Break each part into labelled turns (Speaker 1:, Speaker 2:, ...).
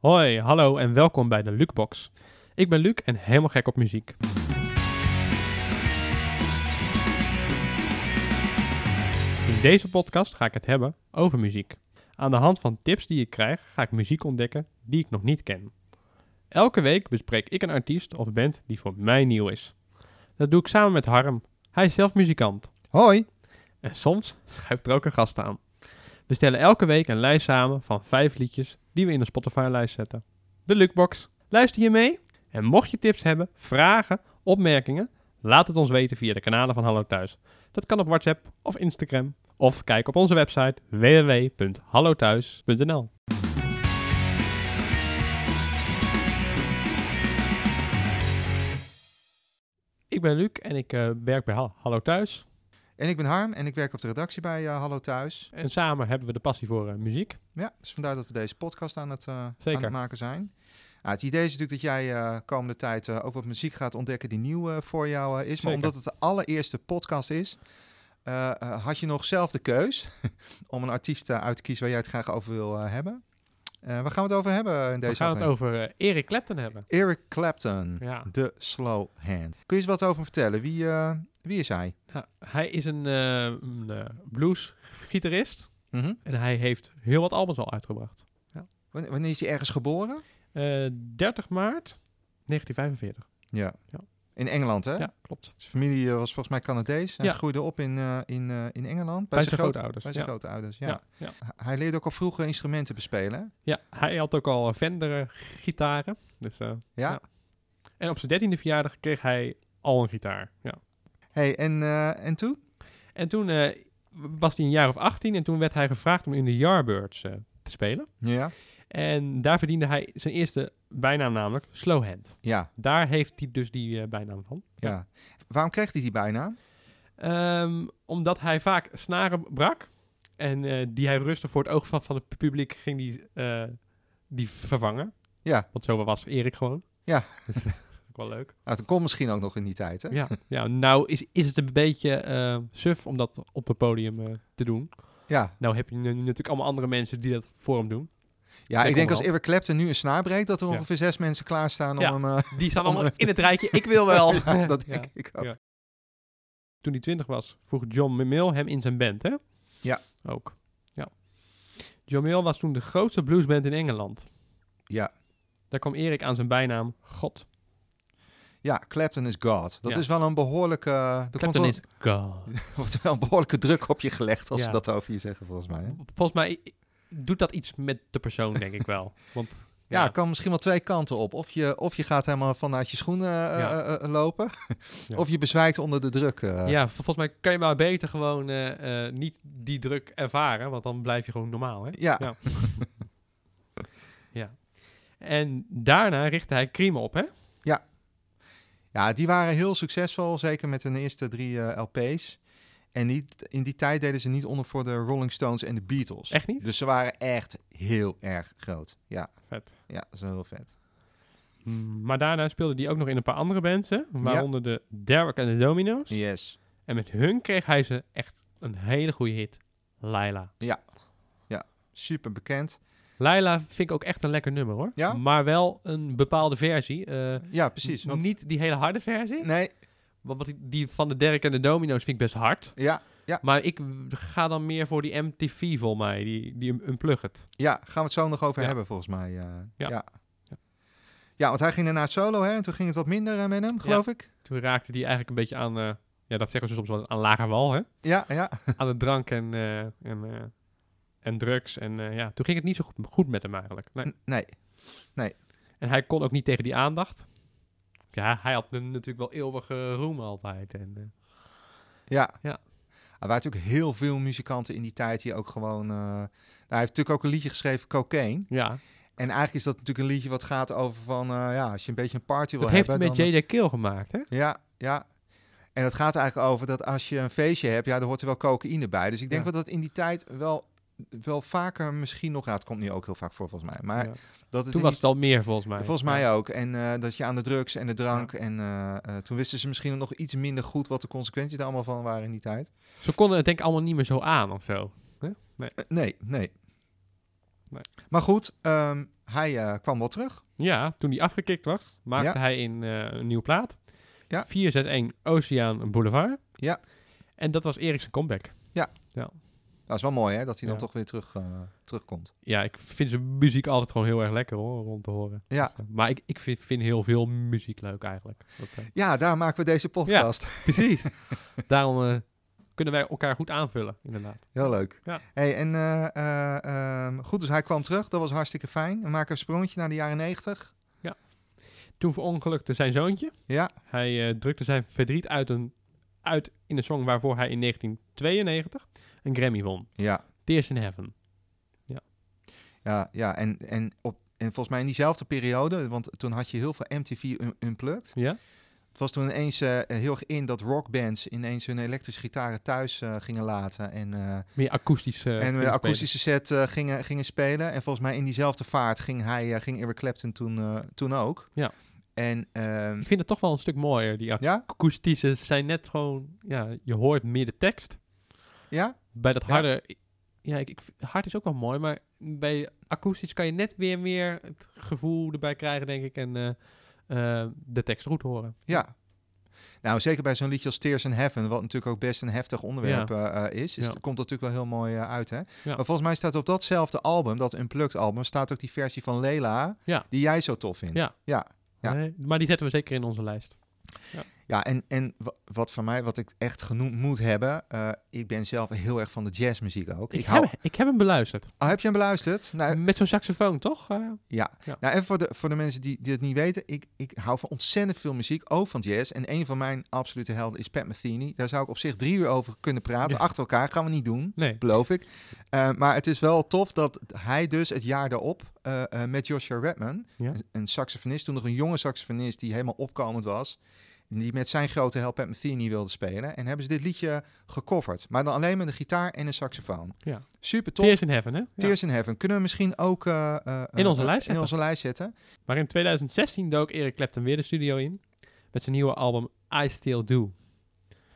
Speaker 1: Hoi, hallo en welkom bij de Lukebox. Ik ben Luc en helemaal gek op muziek. In deze podcast ga ik het hebben over muziek. Aan de hand van tips die ik krijg, ga ik muziek ontdekken die ik nog niet ken. Elke week bespreek ik een artiest of band die voor mij nieuw is. Dat doe ik samen met Harm. Hij is zelf muzikant.
Speaker 2: Hoi.
Speaker 1: En soms schuift er ook een gast aan. We stellen elke week een lijst samen van vijf liedjes die we in de Spotify-lijst zetten. De Lukebox. Luister je mee? En mocht je tips hebben, vragen, opmerkingen, laat het ons weten via de kanalen van Hallo Thuis. Dat kan op WhatsApp of Instagram. Of kijk op onze website www.hallothuis.nl. Ik ben Luc en ik eh, werk bij Ha- Hallo Thuis.
Speaker 2: En ik ben Harm en ik werk op de redactie bij eh, Hallo Thuis.
Speaker 1: En samen hebben we de passie voor eh, muziek.
Speaker 2: Ja, dus vandaar dat we deze podcast aan het, eh,
Speaker 1: Zeker.
Speaker 2: Aan het maken zijn. Ah, het idee is natuurlijk dat jij eh, komende tijd eh, ook wat muziek gaat ontdekken die nieuw eh, voor jou eh, is. Maar
Speaker 1: Zeker.
Speaker 2: omdat het de allereerste podcast is, eh, eh, had je nog zelf de keus om een artiest eh, uit te kiezen waar jij het graag over wil eh, hebben. Eh waar gaan we het over hebben in deze
Speaker 1: we gaan het
Speaker 2: aflevering?
Speaker 1: over eh, Eric Clapton hebben.
Speaker 2: Eric Clapton,
Speaker 1: Ja.
Speaker 2: de slow hand. Kun je eens wat over hem vertellen? Wie, eh, wie is hij?
Speaker 1: Nou, hij is een, eh, een eh, bluesgitarist
Speaker 2: Mhm.
Speaker 1: en hij heeft heel wat albums al uitgebracht.
Speaker 2: Wanneer wanneer is hij ergens geboren?
Speaker 1: Eh, 30 maart 1945.
Speaker 2: Ja.
Speaker 1: Ja.
Speaker 2: In Engeland, hè?
Speaker 1: Ja, klopt.
Speaker 2: Zijn familie eh, was volgens mij Canadees. Hij
Speaker 1: Ja.
Speaker 2: groeide op in, eh, in, eh, in Engeland.
Speaker 1: Bij zijn
Speaker 2: groot-
Speaker 1: grootouders.
Speaker 2: bij
Speaker 1: ja.
Speaker 2: zijn grootouders, ja.
Speaker 1: Ja, ja.
Speaker 2: H- Hij leerde ook al vroeg eh, instrumenten bespelen. hè?
Speaker 1: Ja, hij had ook al Fender-gitaren. Dus, eh,
Speaker 2: Ja.
Speaker 1: Ja. en op zijn dertiende verjaardag kreeg hij al een gitaar. Ja.
Speaker 2: Hey, en, eh, en toen?
Speaker 1: En toen eh, was hij een jaar of 18 en toen werd hij gevraagd om in de Yardbirds eh, te spelen.
Speaker 2: Ja.
Speaker 1: En daar verdiende hij zijn eerste bijnaam namelijk Slow Hand.
Speaker 2: Ja,
Speaker 1: Daar heeft hij dus die eh, bijnaam van.
Speaker 2: ja. Waarom kreeg hij die bijnaam?
Speaker 1: Ehm, omdat hij vaak snaren brak en eh, die hij rustig voor het oog van, van het publiek ging die, eh, die vervangen.
Speaker 2: Ja.
Speaker 1: Want zo was Erik gewoon.
Speaker 2: Ja.
Speaker 1: Dus, dat is ook wel leuk.
Speaker 2: Nou, dat kon misschien ook nog in die tijd, hè?
Speaker 1: Ja, ja nou is, is het een beetje eh, suf om dat op het podium eh, te doen.
Speaker 2: Ja,
Speaker 1: Nou heb je nu natuurlijk allemaal andere mensen die dat voor hem doen.
Speaker 2: ja
Speaker 1: Denk
Speaker 2: ik denk
Speaker 1: om
Speaker 2: als
Speaker 1: wel.
Speaker 2: Eric Clapton nu een snaar breekt... dat er
Speaker 1: Ja.
Speaker 2: ongeveer zes mensen klaarstaan
Speaker 1: Ja.
Speaker 2: om hem... eh,
Speaker 1: Die staan
Speaker 2: Om-
Speaker 1: allemaal in het rijtje, ik wil wel.
Speaker 2: ja, dat denk
Speaker 1: Ja.
Speaker 2: ik ook.
Speaker 1: Ja. toen hij 20 was, vroeg John Mill hem in zijn band, hè?
Speaker 2: Ja.
Speaker 1: Ook. Ja. John Mill was toen de grootste bluesband in Engeland.
Speaker 2: Ja.
Speaker 1: Daar kwam Erik aan zijn bijnaam God.
Speaker 2: Ja, Clapton is God. Dat
Speaker 1: Ja.
Speaker 2: is wel een behoorlijke... eh, er komt
Speaker 1: Clapton
Speaker 2: wel-
Speaker 1: is God.
Speaker 2: wordt wel een behoorlijke druk op je gelegd... als
Speaker 1: Ja.
Speaker 2: ze dat over je zeggen, volgens mij. Hè?
Speaker 1: Volgens mij doet dat iets met de persoon, denk ik wel. Want
Speaker 2: Ja,
Speaker 1: ja,
Speaker 2: kan misschien wel twee kanten op. Of je, of je gaat helemaal vanuit je schoenen eh,
Speaker 1: Ja.
Speaker 2: eh, eh, lopen.
Speaker 1: Ja.
Speaker 2: Of je bezwijkt onder de druk. eh.
Speaker 1: ja, vol- volgens mij kan je maar beter gewoon eh, eh, niet die druk ervaren, want dan blijf je gewoon normaal, hè?
Speaker 2: Ja.
Speaker 1: Ja. En daarna richtte hij Cream op, hè?
Speaker 2: Ja, die waren heel succesvol. Zeker met hun eerste drie eh, LP's. En niet, in die tijd deden ze niet onder voor de Rolling Stones en de Beatles.
Speaker 1: Echt niet?
Speaker 2: Dus ze waren echt heel erg groot. Ja,
Speaker 1: Vet.
Speaker 2: ja dat is wel heel vet. Hmm.
Speaker 1: Mm, Maar daarna speelde hij ook nog in een paar andere bands, hè? Waaronder de Derek en de Domino's.
Speaker 2: Yes.
Speaker 1: En met hun kreeg hij ze echt een hele goede hit. Laila.
Speaker 2: Super bekend.
Speaker 1: Laila vind ik ook echt een lekker nummer hoor.
Speaker 2: Ja?
Speaker 1: Maar wel een bepaalde versie. eh,
Speaker 2: Ja, precies. Want,
Speaker 1: Niet die hele harde versie.
Speaker 2: nee,
Speaker 1: Want wat die- die van de Derek en de Domino's vind ik best hard.
Speaker 2: ja,
Speaker 1: Maar ik w- ga dan meer voor die MTV vol mij. Die, die un- unplugged.
Speaker 2: ja, gaan we het zo nog over
Speaker 1: Ja.
Speaker 2: hebben volgens mij. eh.
Speaker 1: Ja.
Speaker 2: ja. Ja, want hij ging daarna solo hè. En toen ging het wat minder eh, met hem, geloof ik.
Speaker 1: Toen raakte die eigenlijk een beetje aan... eh, ja, dat zeggen ze soms wel aan lager wal hè.
Speaker 2: Ja, ja.
Speaker 1: aan de drank en, eh, en, eh, en drugs. En eh, ja, toen ging het niet zo goed, goed met hem eigenlijk. Nee.
Speaker 2: N- Nee.
Speaker 1: En hij kon ook niet tegen die aandacht. Ja, hij had n- natuurlijk wel eeuwige roem altijd. En, eh,
Speaker 2: Ja.
Speaker 1: Ja.
Speaker 2: Er waren natuurlijk heel veel muzikanten in die tijd die ook gewoon... eh, nou, hij heeft natuurlijk ook een liedje geschreven, Cocaine.
Speaker 1: ja,
Speaker 2: En eigenlijk is dat natuurlijk een liedje wat gaat over van... eh, ja, als je een beetje een party wil
Speaker 1: dat heeft hij
Speaker 2: hebben...
Speaker 1: met J.J. Kill gemaakt, hè?
Speaker 2: dan- Ja, ja. En dat gaat eigenlijk over dat als je een feestje hebt... Ja, daar hoort er wel cocaïne bij. Dus ik denk
Speaker 1: Ja.
Speaker 2: wel dat in die tijd wel, wel vaker misschien nog... Ja, het komt nu ook heel vaak voor volgens mij. Maar
Speaker 1: Ja.
Speaker 2: dat het
Speaker 1: Toen
Speaker 2: in
Speaker 1: was
Speaker 2: die-
Speaker 1: het al meer, volgens mij.
Speaker 2: Volgens mij ook. En eh, dat je aan de drugs en de drank... En eh, eh, toen wisten ze misschien nog iets minder goed... wat de consequenties er allemaal van waren in die tijd.
Speaker 1: Ze konden het denk ik allemaal niet meer zo aan of zo.
Speaker 2: Eh, Nee, nee.
Speaker 1: Nee.
Speaker 2: Maar goed, ehm, Hij eh, kwam wel terug.
Speaker 1: Ja, toen die afgekikt was, maakte
Speaker 2: Ja.
Speaker 1: hij in, eh, een nieuwe plaat.
Speaker 2: Ja.
Speaker 1: 461 Oceaan Boulevard.
Speaker 2: Ja.
Speaker 1: En dat was Erik's comeback.
Speaker 2: Dat is wel mooi, hè? Dat hij dan
Speaker 1: Ja.
Speaker 2: toch weer terug, eh, terugkomt.
Speaker 1: Ja, ik vind zijn muziek altijd gewoon heel erg lekker hoor, om te horen.
Speaker 2: Ja.
Speaker 1: Maar ik, ik vind, vind heel veel muziek leuk eigenlijk. Dat, eh,
Speaker 2: Ja, daar maken we deze podcast.
Speaker 1: precies. Daarom eh, kunnen wij elkaar goed aanvullen, inderdaad.
Speaker 2: Heel leuk.
Speaker 1: Ja.
Speaker 2: Hey, en eh, eh, ehm, goed, dus hij kwam terug. Dat was hartstikke fijn. We maken een sprongetje naar de jaren 90.
Speaker 1: Toen verongelukte zijn zoontje.
Speaker 2: Ja,
Speaker 1: Hij eh, drukte zijn verdriet uit, een, uit in een song waarvoor hij in 1992 een Grammy won.
Speaker 2: ja,
Speaker 1: Tears in Heaven.
Speaker 2: ja, ja. En, en, op, en volgens mij in diezelfde periode, want toen had je heel veel MTV un- Unplugged.
Speaker 1: Ja?
Speaker 2: Het was toen ineens eh, heel erg in dat rockbands ineens hun elektrische gitaren thuis eh, gingen laten. En, eh,
Speaker 1: Meer akoestisch. eh,
Speaker 2: en een
Speaker 1: inspelen.
Speaker 2: akoestische set eh, gingen, gingen spelen. En volgens mij in diezelfde vaart ging, hij, eh, ging Eric Clapton toen, eh, toen ook.
Speaker 1: Ja.
Speaker 2: En ehm,
Speaker 1: Ik vind het toch wel een stuk mooier. Die
Speaker 2: ja,
Speaker 1: akoestische zijn net gewoon... Ja, je hoort meer de tekst.
Speaker 2: ja,
Speaker 1: Bij dat
Speaker 2: Ja.
Speaker 1: harde... Ja, ik, ik, vind- hard is ook wel mooi, maar bij akoestisch kan je net weer meer het gevoel erbij krijgen, denk ik. En eh, eh, de tekst goed horen.
Speaker 2: Ja. Nou, zeker bij zo'n liedje als Tears in Heaven, wat natuurlijk ook best een heftig onderwerp eh, eh, is, is
Speaker 1: Ja.
Speaker 2: komt dat natuurlijk wel heel mooi eh, uit. Hè?
Speaker 1: Ja.
Speaker 2: Maar volgens mij staat op datzelfde album, dat Unplugged album, staat ook die versie van Lela,
Speaker 1: Ja.
Speaker 2: die jij zo tof vindt.
Speaker 1: Ja.
Speaker 2: ja. Ja.
Speaker 1: Nee, Eh, maar die zetten we zeker in onze lijst.
Speaker 2: Ja, en, en wa- wat voor mij, wat ik echt genoemd moet hebben, eh, ik ben zelf heel erg van de jazzmuziek ook.
Speaker 1: Ik,
Speaker 2: hou...
Speaker 1: heb, ik heb hem beluisterd.
Speaker 2: Oh, heb je hem beluisterd? Nou,
Speaker 1: Met zo'n saxofoon, toch? Eh,
Speaker 2: Ja.
Speaker 1: Ja.
Speaker 2: Nou, even voor de, voor de mensen die, die het niet weten. Ik, ik hou van ontzettend veel muziek, ook van jazz. En een van mijn absolute helden is Pat Metheny. Daar zou ik op zich drie uur over kunnen praten,
Speaker 1: Ja.
Speaker 2: achter elkaar. Gaan we niet doen,
Speaker 1: nee.
Speaker 2: beloof ik. Eh, maar het is wel tof dat hij dus het jaar daarop eh, eh, met Joshua Redman,
Speaker 1: Ja.
Speaker 2: een, een saxofonist, toen nog een jonge saxofonist die helemaal opkomend was, die met zijn grote held Pat Metheny wilde spelen. En hebben ze dit liedje gecoverd. Maar dan alleen met een gitaar en een saxofoon.
Speaker 1: Ja.
Speaker 2: Super tof.
Speaker 1: Tears in Heaven, hè? Ja.
Speaker 2: Tears in Heaven. Kunnen we misschien ook eh, eh,
Speaker 1: In onze
Speaker 2: eh,
Speaker 1: lijst
Speaker 2: in
Speaker 1: zetten.
Speaker 2: onze lijst zetten.
Speaker 1: Maar in 2016 dook Eric Clapton weer de studio in. Met zijn nieuwe album I Still Do.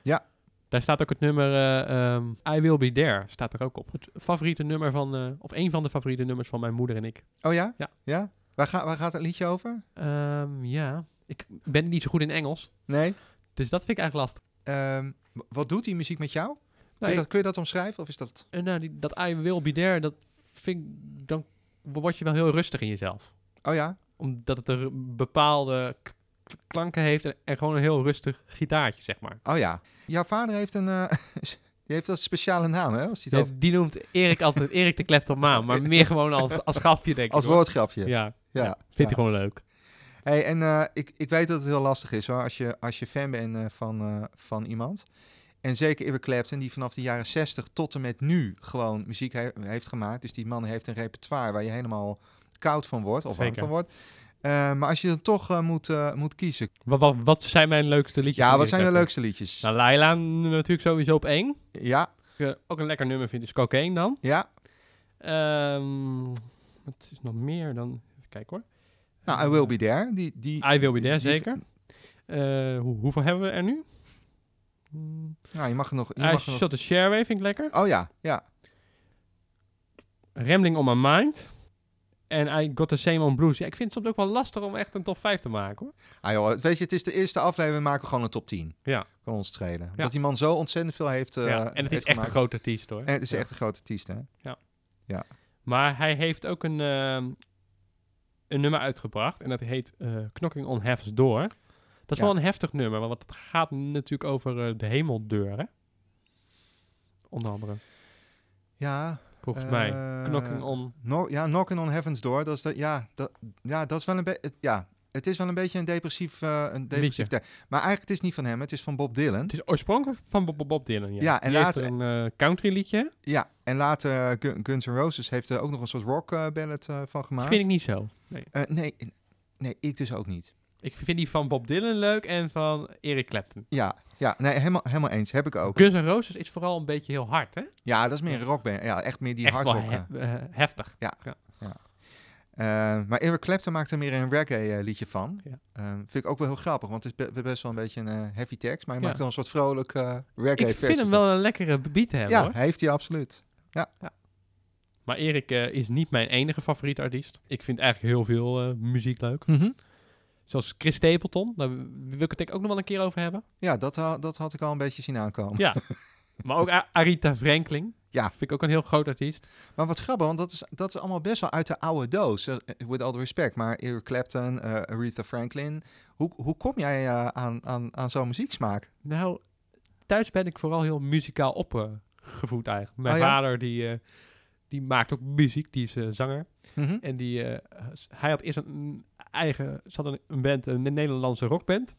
Speaker 2: Ja.
Speaker 1: Daar staat ook het nummer eh, ehm, I Will Be There. Staat er ook op. Het favoriete nummer van, eh, of een van de favoriete nummers van mijn moeder en ik.
Speaker 2: Oh ja?
Speaker 1: Ja.
Speaker 2: Waar, ga- waar gaat het liedje over?
Speaker 1: Ehm, ja, ik ben niet zo goed in Engels.
Speaker 2: Nee. Ehm,
Speaker 1: Dus dat vind ik eigenlijk lastig.
Speaker 2: wat doet die muziek met jou? Kun
Speaker 1: Nou,
Speaker 2: je,
Speaker 1: ik-
Speaker 2: dat, kun je dat omschrijven? Of is dat...
Speaker 1: eh, nou, die- dat I Will Be There, dat vind ik, dan word je wel heel rustig in jezelf.
Speaker 2: Oh ja?
Speaker 1: Omdat het er bepaalde k- k- klanken heeft en, en gewoon een heel rustig gitaartje, zeg maar.
Speaker 2: Oh ja. Jouw vader heeft een... eh, die heeft dat speciale naam, hè? Als, die het
Speaker 1: Ja,
Speaker 2: over-
Speaker 1: Eh, die noemt Erik altijd Erik de Kleptomaan, maar meer gewoon als, als grapje, denk ik.
Speaker 2: als
Speaker 1: hoor.
Speaker 2: woordgrapje. Ja.
Speaker 1: Ja,
Speaker 2: ja.
Speaker 1: vindt hij gewoon leuk.
Speaker 2: Hey, en eh, ik, ik weet dat het heel lastig is, hoor. Als je, als je fan bent eh, van, eh, van iemand... En zeker Eric Clapton, die vanaf de jaren 60 tot en met nu gewoon muziek he- heeft gemaakt. Dus die man heeft een repertoire waar je helemaal koud van wordt of warm
Speaker 1: Zeker.
Speaker 2: van wordt. Eh, maar als je dan toch eh, moet, eh, moet kiezen.
Speaker 1: Wat, wat, wat zijn mijn leukste liedjes?
Speaker 2: Ja,
Speaker 1: van
Speaker 2: wat
Speaker 1: Eric
Speaker 2: zijn je
Speaker 1: Clapton?
Speaker 2: leukste liedjes?
Speaker 1: Nou, Laila n- natuurlijk sowieso op één.
Speaker 2: Ja,
Speaker 1: Wat ik, eh, ook een lekker nummer vind is Cocaine dan.
Speaker 2: ja.
Speaker 1: Ehm, wat is nog meer dan... Even kijken hoor.
Speaker 2: Nou, I Will Be There. Die, die,
Speaker 1: I Will Be There,
Speaker 2: die-
Speaker 1: zeker. Eh, hoe, hoeveel hebben we er nu? Hmm,
Speaker 2: nou, je mag er nog... Je
Speaker 1: I
Speaker 2: mag er
Speaker 1: Shot
Speaker 2: nog
Speaker 1: the Shareway vind ik lekker.
Speaker 2: oh ja, ja.
Speaker 1: Rambling on My Mind. En I Got the Same on Blues. Ja, ik vind het soms ook wel lastig om echt een top 5 te maken hoor.
Speaker 2: Ah, joh, weet je, het is de eerste aflevering, we maken gewoon een top 10.
Speaker 1: Ja.
Speaker 2: Kan ons treden. Dat die man zo ontzettend veel heeft eh
Speaker 1: ja, en het is
Speaker 2: heeft
Speaker 1: echt een
Speaker 2: gemaakt.
Speaker 1: grote artiest hoor.
Speaker 2: En het is
Speaker 1: Ja.
Speaker 2: echt een grote artiest, hè?
Speaker 1: Maar hij heeft ook een, ehm, een nummer uitgebracht. En dat heet eh Knocking on Heaven's Door. Dat is
Speaker 2: Ja.
Speaker 1: wel een heftig nummer. Want het gaat natuurlijk over eh, de hemeldeur. Hè? Onder andere,
Speaker 2: Ja.
Speaker 1: volgens
Speaker 2: eh, hm?
Speaker 1: mij. Knocking on...
Speaker 2: No- ja, Knocking on Heaven's Door. Dat is dat, ja, dat, ja, dat is wel een beetje... Ja, het is wel een beetje een depressief... eh, een depressief
Speaker 1: Liedje.
Speaker 2: te- maar eigenlijk, het is niet van hem. Het is van Bob Dylan.
Speaker 1: Het is oorspronkelijk van Bob, Bob Dylan. Ja,
Speaker 2: Ja, en
Speaker 1: Die heeft er
Speaker 2: later-
Speaker 1: een eh, country liedje.
Speaker 2: Ja, en later eh, Gun- Guns N' Roses heeft er ook nog een soort rock eh, ballad eh, van
Speaker 1: Die
Speaker 2: gemaakt.
Speaker 1: vind ik niet zo. Nee.
Speaker 2: Eh, nee, nee, ik dus ook niet.
Speaker 1: Ik vind die van Bob Dylan leuk en van Eric Clapton.
Speaker 2: Ja, ja nee, helemaal, helemaal eens. Heb ik ook.
Speaker 1: Guns N' Roses is vooral een beetje heel hard, hè?
Speaker 2: Ja, dat is meer een rockband. Ja, echt meer die
Speaker 1: Echt wel
Speaker 2: hardrock. eh.
Speaker 1: he- eh, heftig.
Speaker 2: Eh, maar Eric Clapton maakt er meer een reggae eh, liedje van.
Speaker 1: Ja.
Speaker 2: Eh, vind ik ook wel heel grappig, want het is be- best wel een beetje een eh, heavy tekst. Maar hij
Speaker 1: Ja.
Speaker 2: maakt dan een soort vrolijk eh reggae
Speaker 1: ik vind hem wel een lekkere beat hebben,
Speaker 2: Ja,
Speaker 1: hoor.
Speaker 2: heeft hij absoluut.
Speaker 1: Maar Erik eh, is niet mijn enige favoriete artiest. Ik vind eigenlijk heel veel eh, muziek leuk.
Speaker 2: Mhm.
Speaker 1: Zoals Chris Stapleton, daar wil ik het denk ik ook nog wel een keer over hebben.
Speaker 2: Ja, dat, ha- dat had ik al een beetje zien aankomen.
Speaker 1: Ja. Maar ook A- Arita Franklin.
Speaker 2: Ja.
Speaker 1: Vind ik ook een heel groot artiest.
Speaker 2: Maar wat grappig, want dat is, dat is allemaal best wel uit de oude doos. eh, With all the respect. Maar Eric Clapton, eh, Aretha Franklin. Hoe, hoe kom jij eh, aan, aan, aan zo'n muzieksmaak?
Speaker 1: Nou, thuis ben ik vooral heel muzikaal opgevoed eigenlijk. Mijn
Speaker 2: Oh ja?
Speaker 1: vader die, eh, die maakt ook muziek, die is eh, zanger.
Speaker 2: Mhm.
Speaker 1: En die, eh, hij had eerst een eigen, ze hadden een band, een Nederlandse rockband.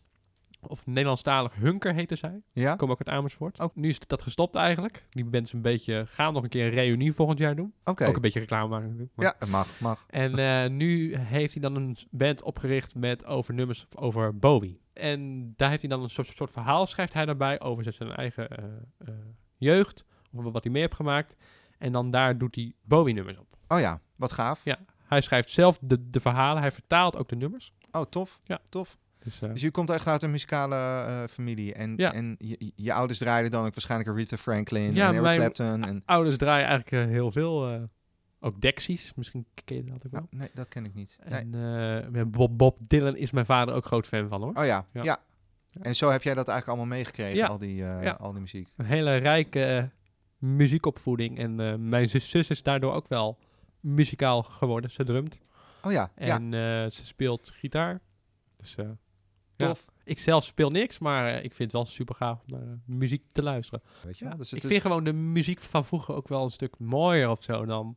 Speaker 1: Of Nederlandstalig Hunker heette zij.
Speaker 2: Ja?
Speaker 1: Kom ook uit Amersfoort.
Speaker 2: Oh.
Speaker 1: Nu is dat gestopt eigenlijk. Die band is een beetje, gaan nog een keer een reunie volgend jaar doen.
Speaker 2: Oké.
Speaker 1: Ook een beetje reclame maken natuurlijk. maar-
Speaker 2: Ja, mag, mag.
Speaker 1: En eh, nu heeft hij dan een band opgericht met over nummers over Bowie. En daar heeft hij dan een soort, soort verhaal, schrijft hij daarbij, over zijn eigen eh, eh, jeugd. Of wat hij mee heeft gemaakt. En dan daar doet hij Bowie nummers op.
Speaker 2: Oh ja, wat gaaf.
Speaker 1: Ja. Hij schrijft zelf de, de verhalen, hij vertaalt ook de nummers.
Speaker 2: Oh, tof.
Speaker 1: Ja.
Speaker 2: Tof.
Speaker 1: Dus, eh,
Speaker 2: Dus je komt echt uit een muzikale eh, familie. En,
Speaker 1: Ja.
Speaker 2: en je, je ouders draaiden dan ook waarschijnlijk Aretha Franklin
Speaker 1: Ja,
Speaker 2: en Eric
Speaker 1: mijn-
Speaker 2: Clapton. En...
Speaker 1: ouders draaien eigenlijk eh, heel veel. eh, ook Dexys, misschien ken je dat ook wel.
Speaker 2: Nou, nee, dat ken ik niet. Nee.
Speaker 1: En eh, ja, Bob, Bob Dylan is mijn vader ook groot fan van hoor.
Speaker 2: Oh ja, ja.
Speaker 1: Ja.
Speaker 2: En zo heb jij dat eigenlijk allemaal meegekregen,
Speaker 1: Ja.
Speaker 2: al, die, eh,
Speaker 1: Ja.
Speaker 2: al die muziek.
Speaker 1: Een hele rijke eh, muziekopvoeding. En eh, mijn zus, zus is daardoor ook wel muzikaal geworden. Ze drumt
Speaker 2: Oh ja, ja,
Speaker 1: en eh, ze speelt gitaar. Dus eh, ja.
Speaker 2: tof.
Speaker 1: ik zelf speel niks, maar eh, ik vind het wel super gaaf om naar eh, muziek te luisteren.
Speaker 2: Weet je?
Speaker 1: Ja,
Speaker 2: wel, Dus
Speaker 1: ik
Speaker 2: het is...
Speaker 1: vind gewoon de muziek van vroeger ook wel een stuk mooier of zo dan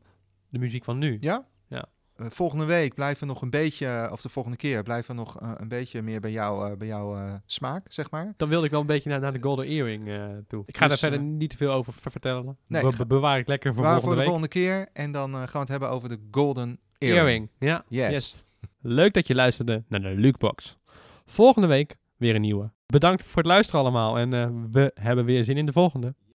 Speaker 1: de muziek van nu.
Speaker 2: Ja?
Speaker 1: Ja.
Speaker 2: Eh, volgende week blijven we nog een beetje, eh, of de volgende keer blijven we nog eh, een beetje meer bij jouw eh, bij jouw eh, smaak, zeg maar.
Speaker 1: Dan wilde ik wel een beetje naar, naar de Golden Earring eh, toe. Ik ga
Speaker 2: Dus,
Speaker 1: daar verder
Speaker 2: eh,
Speaker 1: niet te veel over ver- vertellen.
Speaker 2: Nee,
Speaker 1: Be-
Speaker 2: ik ga-
Speaker 1: bewaar ik lekker voor
Speaker 2: maar voor de
Speaker 1: volgende week.
Speaker 2: volgende keer. En dan eh, gaan we het hebben over de Golden Earring.
Speaker 1: Earring. Ja.
Speaker 2: Yes.
Speaker 1: Leuk dat je luisterde naar de Lukebox. Volgende week weer een nieuwe. Bedankt voor het luisteren allemaal en eh, we hebben weer zin in de volgende.